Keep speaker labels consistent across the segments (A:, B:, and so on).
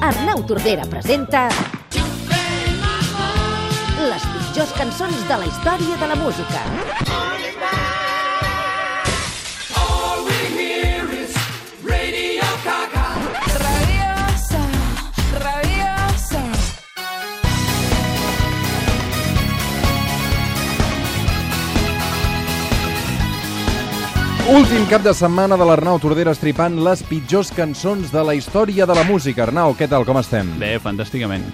A: Arnau Tordera presenta... Les pitjors cançons de la història de la música.
B: Rabiosa, rabiosa.
C: Últim cap de setmana de l'Arnau Tordera estripant les pitjors cançons de la història de la música. Arnau, què tal, com estem?
D: Bé, fantàsticament.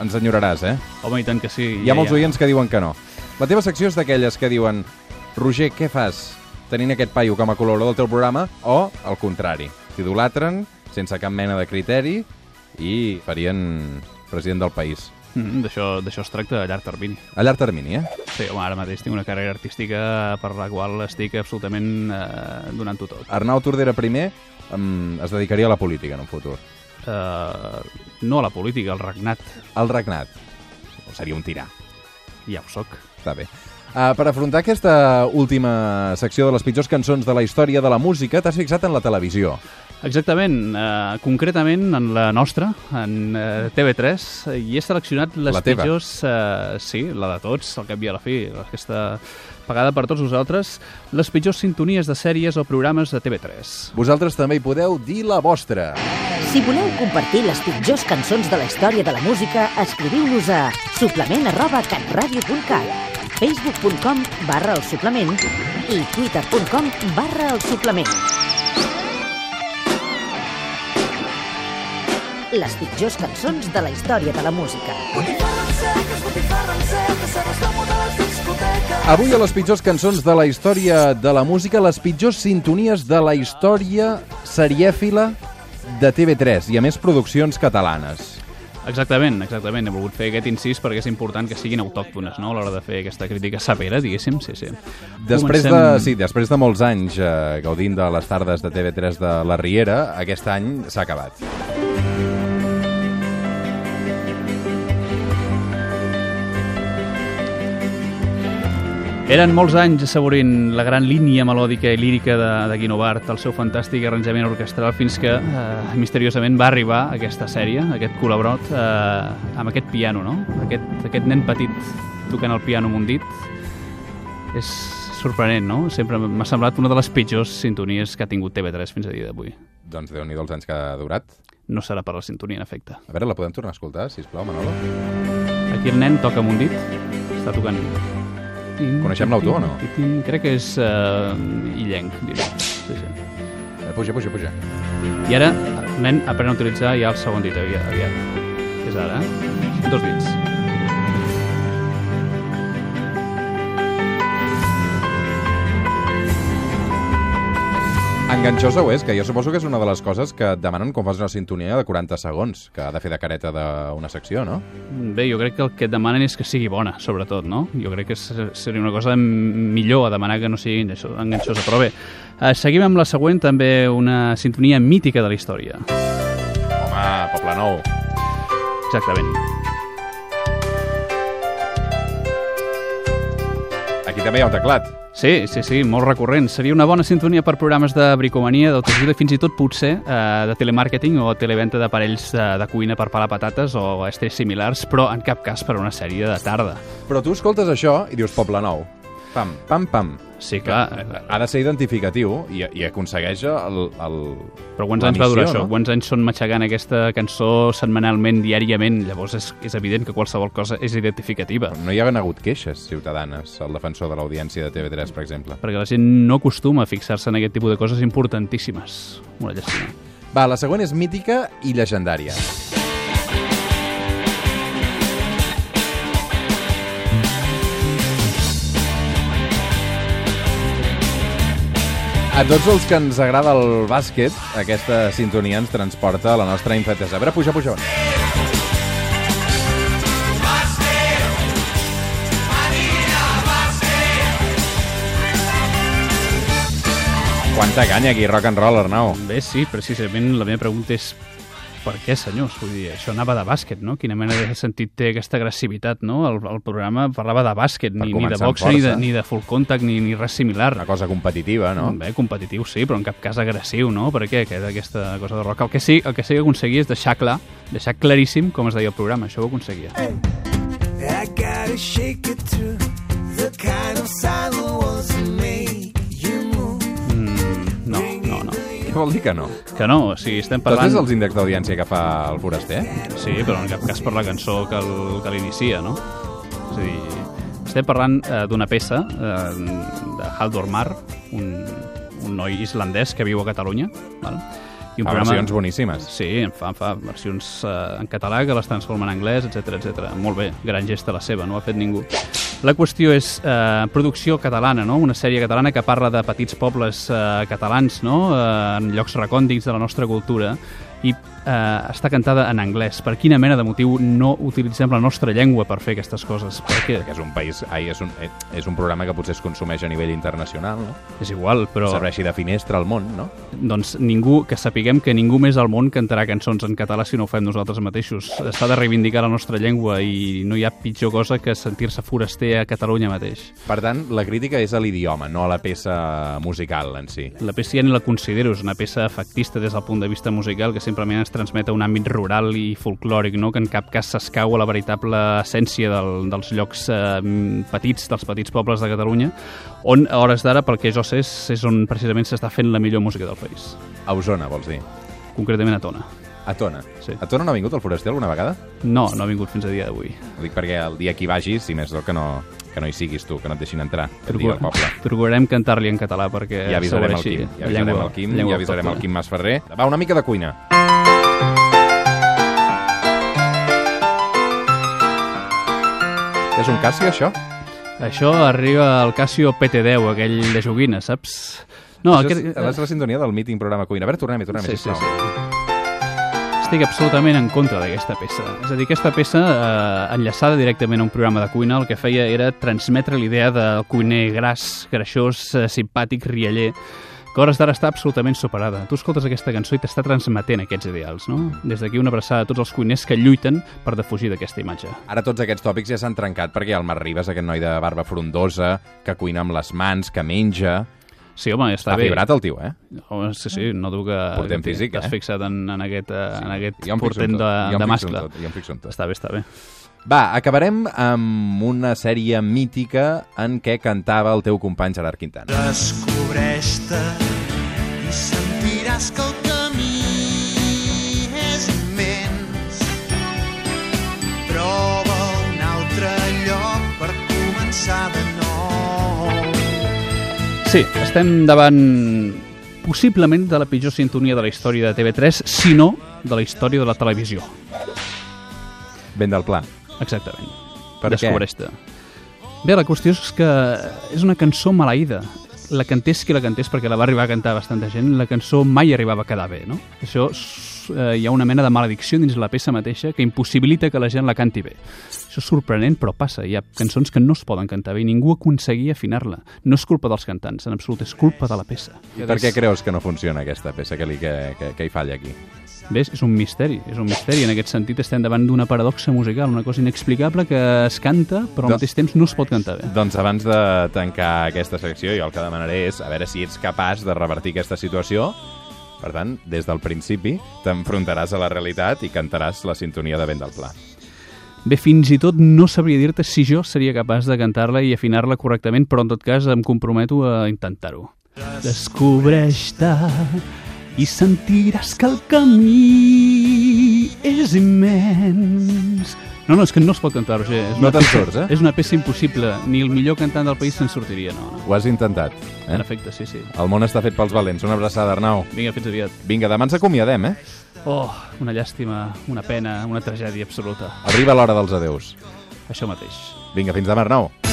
C: Ens enyoraràs, eh?
D: Home, i tant que sí.
C: Hi ha molts oients que diuen que no. La teva secció és d'aquelles que diuen Roger, què fas tenint aquest paio com a col·laborador del teu programa? O, al contrari, t'idolatren sense cap mena de criteri i farien president del país.
D: Mm, D'això d'això es tracta a llarg termini.
C: A llarg termini, eh?
D: Sí, home, ara mateix tinc una carrera artística per la qual estic absolutament eh, donant-ho tot.
C: Arnau Tordera primer um, es dedicaria a la política en un futur.
D: Eh, no a la política, al regnat.
C: Al regnat. O seria un tirà.
D: Ja ho soc.
C: Està bé. Uh, per afrontar aquesta última secció de les pitjors cançons de la història de la música, t'has fixat en la televisió.
D: Exactament, eh, concretament en la nostra, en eh, TV3, eh, i he seleccionat les
C: La teva.
D: pitjors... Eh, sí, la de tots, al cap i a la fi, aquesta pagada per tots vosaltres, les pitjors sintonies de sèries o programes de TV3.
C: Vosaltres també hi podeu dir la vostra.
A: Si voleu compartir les pitjors cançons de la història de la música, escriviu-nos a suplement arroba catradio.cat facebook.com barra el suplement i twitter.com barra el suplement. Les pitjors cançons de la història de la música.
B: Botifarres seques, botifarres seques, se les tomo de les discoteques.
C: Avui a les pitjors cançons de la història de la música, les pitjors sintonies de la història serièfila de TV3 i, a més, produccions catalanes.
D: Exactament, exactament. He volgut fer aquest incís perquè és important que siguin autòctones, no?, a l'hora de fer aquesta crítica severa, diguéssim, sí, sí.
C: Després de,
D: Comencem-
C: sí, després de molts anys eh, gaudint de les tardes de TV3 de la Riera, aquest any s'ha acabat.
D: Eren molts anys assaborint la gran línia melòdica i lírica de, de Guinovart, el seu fantàstic arranjament orquestral, fins que, eh, misteriosament, va arribar aquesta sèrie, aquest col·labrot, eh, amb aquest piano, no? Aquest, aquest nen petit tocant el piano amb un dit. És sorprenent, no? Sempre m'ha semblat una de les pitjors sintonies que ha tingut TV3 fins a dia d'avui.
C: Doncs déu-n'hi-do els anys que ha durat.
D: No serà per la sintonia, en efecte.
C: A veure, la podem tornar a escoltar, sisplau, Manolo?
D: Aquí el nen toca amb un dit, està tocant.
C: Coneixem l'autor o no?
D: Crec que és uh, illenc, diria. Sí, sí.
C: Eh, Puja, puja, puja.
D: I ara el nen aprèn a utilitzar ja el segon dit aviat. aviat. És ara, eh? Dos dits.
C: Enganxosa ho és, que jo suposo que és una de les coses que et demanen quan fas una sintonia de 40 segons, que ha de fer de careta d'una secció, no?
D: Bé, jo crec que el que et demanen és que sigui bona, sobretot, no? Jo crec que ser- seria una cosa m- millor a demanar que no sigui enganxo- enganxosa. Però bé, eh, seguim amb la següent, també una sintonia mítica de la història.
C: Home, Poble Nou.
D: Exactament.
C: Aquí també hi ha un teclat.
D: Sí, sí, sí, molt recurrent. Seria una bona sintonia per programes de bricomania, d'autoajuda i fins i tot, potser, eh, de telemàrqueting o televenta d'aparells de, de cuina per pelar patates o estris similars, però en cap cas per a una sèrie de tarda.
C: Però tu escoltes això i dius Poble Nou. Pam, pam, pam.
D: Sí, clar, eh,
C: Ha de ser identificatiu i, i aconsegueix el... el...
D: però quants
C: la
D: anys va durar
C: missió,
D: això?
C: no?
D: Quants anys són matxegant aquesta cançó setmanalment, diàriament? Llavors és, és evident que qualsevol cosa és identificativa.
C: No hi han hagut queixes ciutadanes al defensor de l'audiència de TV3, per exemple.
D: Perquè la gent no acostuma a fixar-se en aquest tipus de coses importantíssimes. Una llàstima.
C: Va, la següent és mítica i legendària. A tots els que ens agrada el bàsquet, aquesta sintonia ens transporta a la nostra infantesa. A veure, puja, puja. Quanta canya aquí, rock and roll, Arnau.
D: Bé, sí, precisament la meva pregunta és per què, senyors? Vull dir, això anava de bàsquet, no? Quina mena de sentit té aquesta agressivitat, no? El, el programa parlava de bàsquet, ni, ni de
C: començar amb
D: boxe, ni de,
C: força.
D: ni de full contact, ni, ni res similar. Mm,
C: Una cosa competitiva, no?
D: Bé, competitiu sí, però en cap cas agressiu, no? Per què? Aquest, aquesta cosa de rock. El que sí, el que sí que aconseguia és deixar clar deixar claríssim com es deia el programa, això ho aconseguia.
E: I gotta shake it through the kind of silent ones that make you move.
D: Mm, No, no, no.
C: Què vol dir que no?
D: Que no, o sigui, estem
C: Tots
D: parlant...
C: Doncs és els índexs d'audiència que fa el foraster?
D: Sí, però en cap cas per la cançó que el- que l'inicia, no? És a dir, estem parlant eh, d'una peça eh, de Haldor Mar, un, un noi islandès que viu a Catalunya, val? I
C: Fa versions boníssimes.
D: Sí, en fa, en fa versions eh, en català que les transforma en anglès, etc etc. Molt bé, gran gesta la seva, no ho ha fet ningú. La qüestió és eh, producció catalana, no? una sèrie catalana que parla de petits pobles eh, catalans no? eh, en llocs recòndics de la nostra cultura i eh, està cantada en anglès. Per quina mena de motiu no utilitzem la nostra llengua per fer aquestes coses? Perquè
C: Que és un país... Ai, és un, eh, és un programa que potser es consumeix a nivell internacional, no?
D: és igual, però...
C: Serveixi de finestra al món, no?
D: doncs ningú, que sapiguem que ningú més al món cantarà cançons en català si no ho fem nosaltres mateixos. S'ha de reivindicar la nostra llengua i no hi ha pitjor cosa que sentir-se foraster a Catalunya mateix.
C: Per tant, la crítica és a l'idioma, no a la peça musical en si.
D: La peça ja ni la considero, és una peça efectista des del punt de vista musical que simplement ens transmet a un àmbit rural i folclòric, no? que en cap cas s'escau a la veritable essència del, dels llocs eh, petits, dels petits pobles de Catalunya, on a hores d'ara, pel que jo sé, és, és on precisament s'està fent la millor música del país,
C: A Osona, vols dir?
D: concretament a Tona.
C: A Tona.
D: Sí.
C: A Tona no ha vingut el foraster alguna vegada?
D: No, no ha vingut fins a dia d'avui.
C: Ho dic perquè el dia que hi vagis, si més no, que no, que no hi siguis tu, que no et deixin entrar, que et digui
D: Procura-
C: el poble.
D: Procurarem cantar-li en català perquè
C: Ja avisarem el
D: s'obreixi
C: Quim, ja
D: Eh, la
C: avisarem
D: llengua-
C: el Quim,
D: llengua
C: ja avisarem el
D: autòctona.
C: Quim Masferrer. Va, una mica de cuina. És un cassi, això?
D: Això arriba al Casio PT10, aquell de joguina, saps? No,
C: això
D: aquest...
C: és, és la sintonia del míting programa Cuina. A veure, tornem-hi, tornem-hi,
D: Sí, sí,
C: sisplau.
D: sí. Estic absolutament en contra d'aquesta peça. És a dir, aquesta peça, eh, enllaçada directament a un programa de cuina, el que feia era transmetre l'idea del cuiner gras, greixós, eh, simpàtic, rialler, que a hores d'ara està absolutament superada. Tu escoltes aquesta cançó i t'està transmetent aquests ideals, no? Des d'aquí una abraçada a tots els cuiners que lluiten per defugir d'aquesta imatge.
C: Ara tots aquests tòpics ja s'han trencat perquè hi ha el Marc Ribas, aquest noi de barba frondosa, que cuina amb les mans, que menja...
D: Sí, home, està
C: Està
D: bé.
C: fibrat el tio, eh?
D: Home, sí, sí, no duc que...
C: Portem físic,
D: T'has
C: eh?
D: fixat en, en aquest, eh, en aquest
C: Jo em fixo en
D: portent
C: tot,
D: de,
C: jo em fixo
D: de
C: en
D: mascle.
C: tot, Jo em fixo en tot.
D: Està bé, està bé.
C: Va, acabarem amb una sèrie mítica en què cantava el teu company Gerard Quintana.
E: Descobreix-te i sentiràs que el camí és immens. Troba un altre lloc per començar de nou.
D: Sí, estem davant possiblement de la pitjor sintonia de la història de TV3, si no de la història de la televisió.
C: Ben del pla.
D: Exactament.
C: Per què?
D: Descobreix-te. Bé, la qüestió és que és una cançó maleïda. La cantés qui la cantés, perquè la va arribar a cantar bastanta gent, la cançó mai arribava a quedar bé, no? Això s- eh, hi ha una mena de maledicció dins la peça mateixa que impossibilita que la gent la canti bé. Això és sorprenent, però passa. Hi ha cançons que no es poden cantar bé i ningú aconseguia afinar-la. No és culpa dels cantants, en absolut, és culpa de la peça.
C: I per què creus que no funciona aquesta peça que, li, que, que, que hi falla aquí?
D: Ves, és un misteri, és un misteri. En aquest sentit estem davant d'una paradoxa musical, una cosa inexplicable que es canta, però al
C: Doncs-
D: mateix temps no es pot cantar bé.
C: Doncs abans de tancar aquesta secció, jo el que demanaré és a veure si ets capaç de revertir aquesta situació. Per tant, des del principi t'enfrontaràs a la realitat i cantaràs la sintonia de Ben del Pla.
D: Bé, fins i tot no sabria dir-te si jo seria capaç de cantar-la i afinar-la correctament, però en tot cas em comprometo a intentar-ho. Descobreix-te i sentiràs que el camí és immens. No, no, és que no es pot cantar, Roger. És
C: No
D: una
C: te'n
D: peça-
C: surts, eh?
D: És una peça impossible. Ni el millor cantant del país se'n sortiria, no. no.
C: Ho has intentat, eh?
D: En efecte, sí, sí.
C: El món està fet pels valents. Una abraçada, Arnau.
D: Vinga, fins aviat.
C: Vinga, demà ens acomiadem, eh?
D: Oh, una llàstima, una pena, una tragèdia absoluta.
C: Arriba l'hora dels adeus.
D: Això mateix.
C: Vinga, fins demà, Arnau.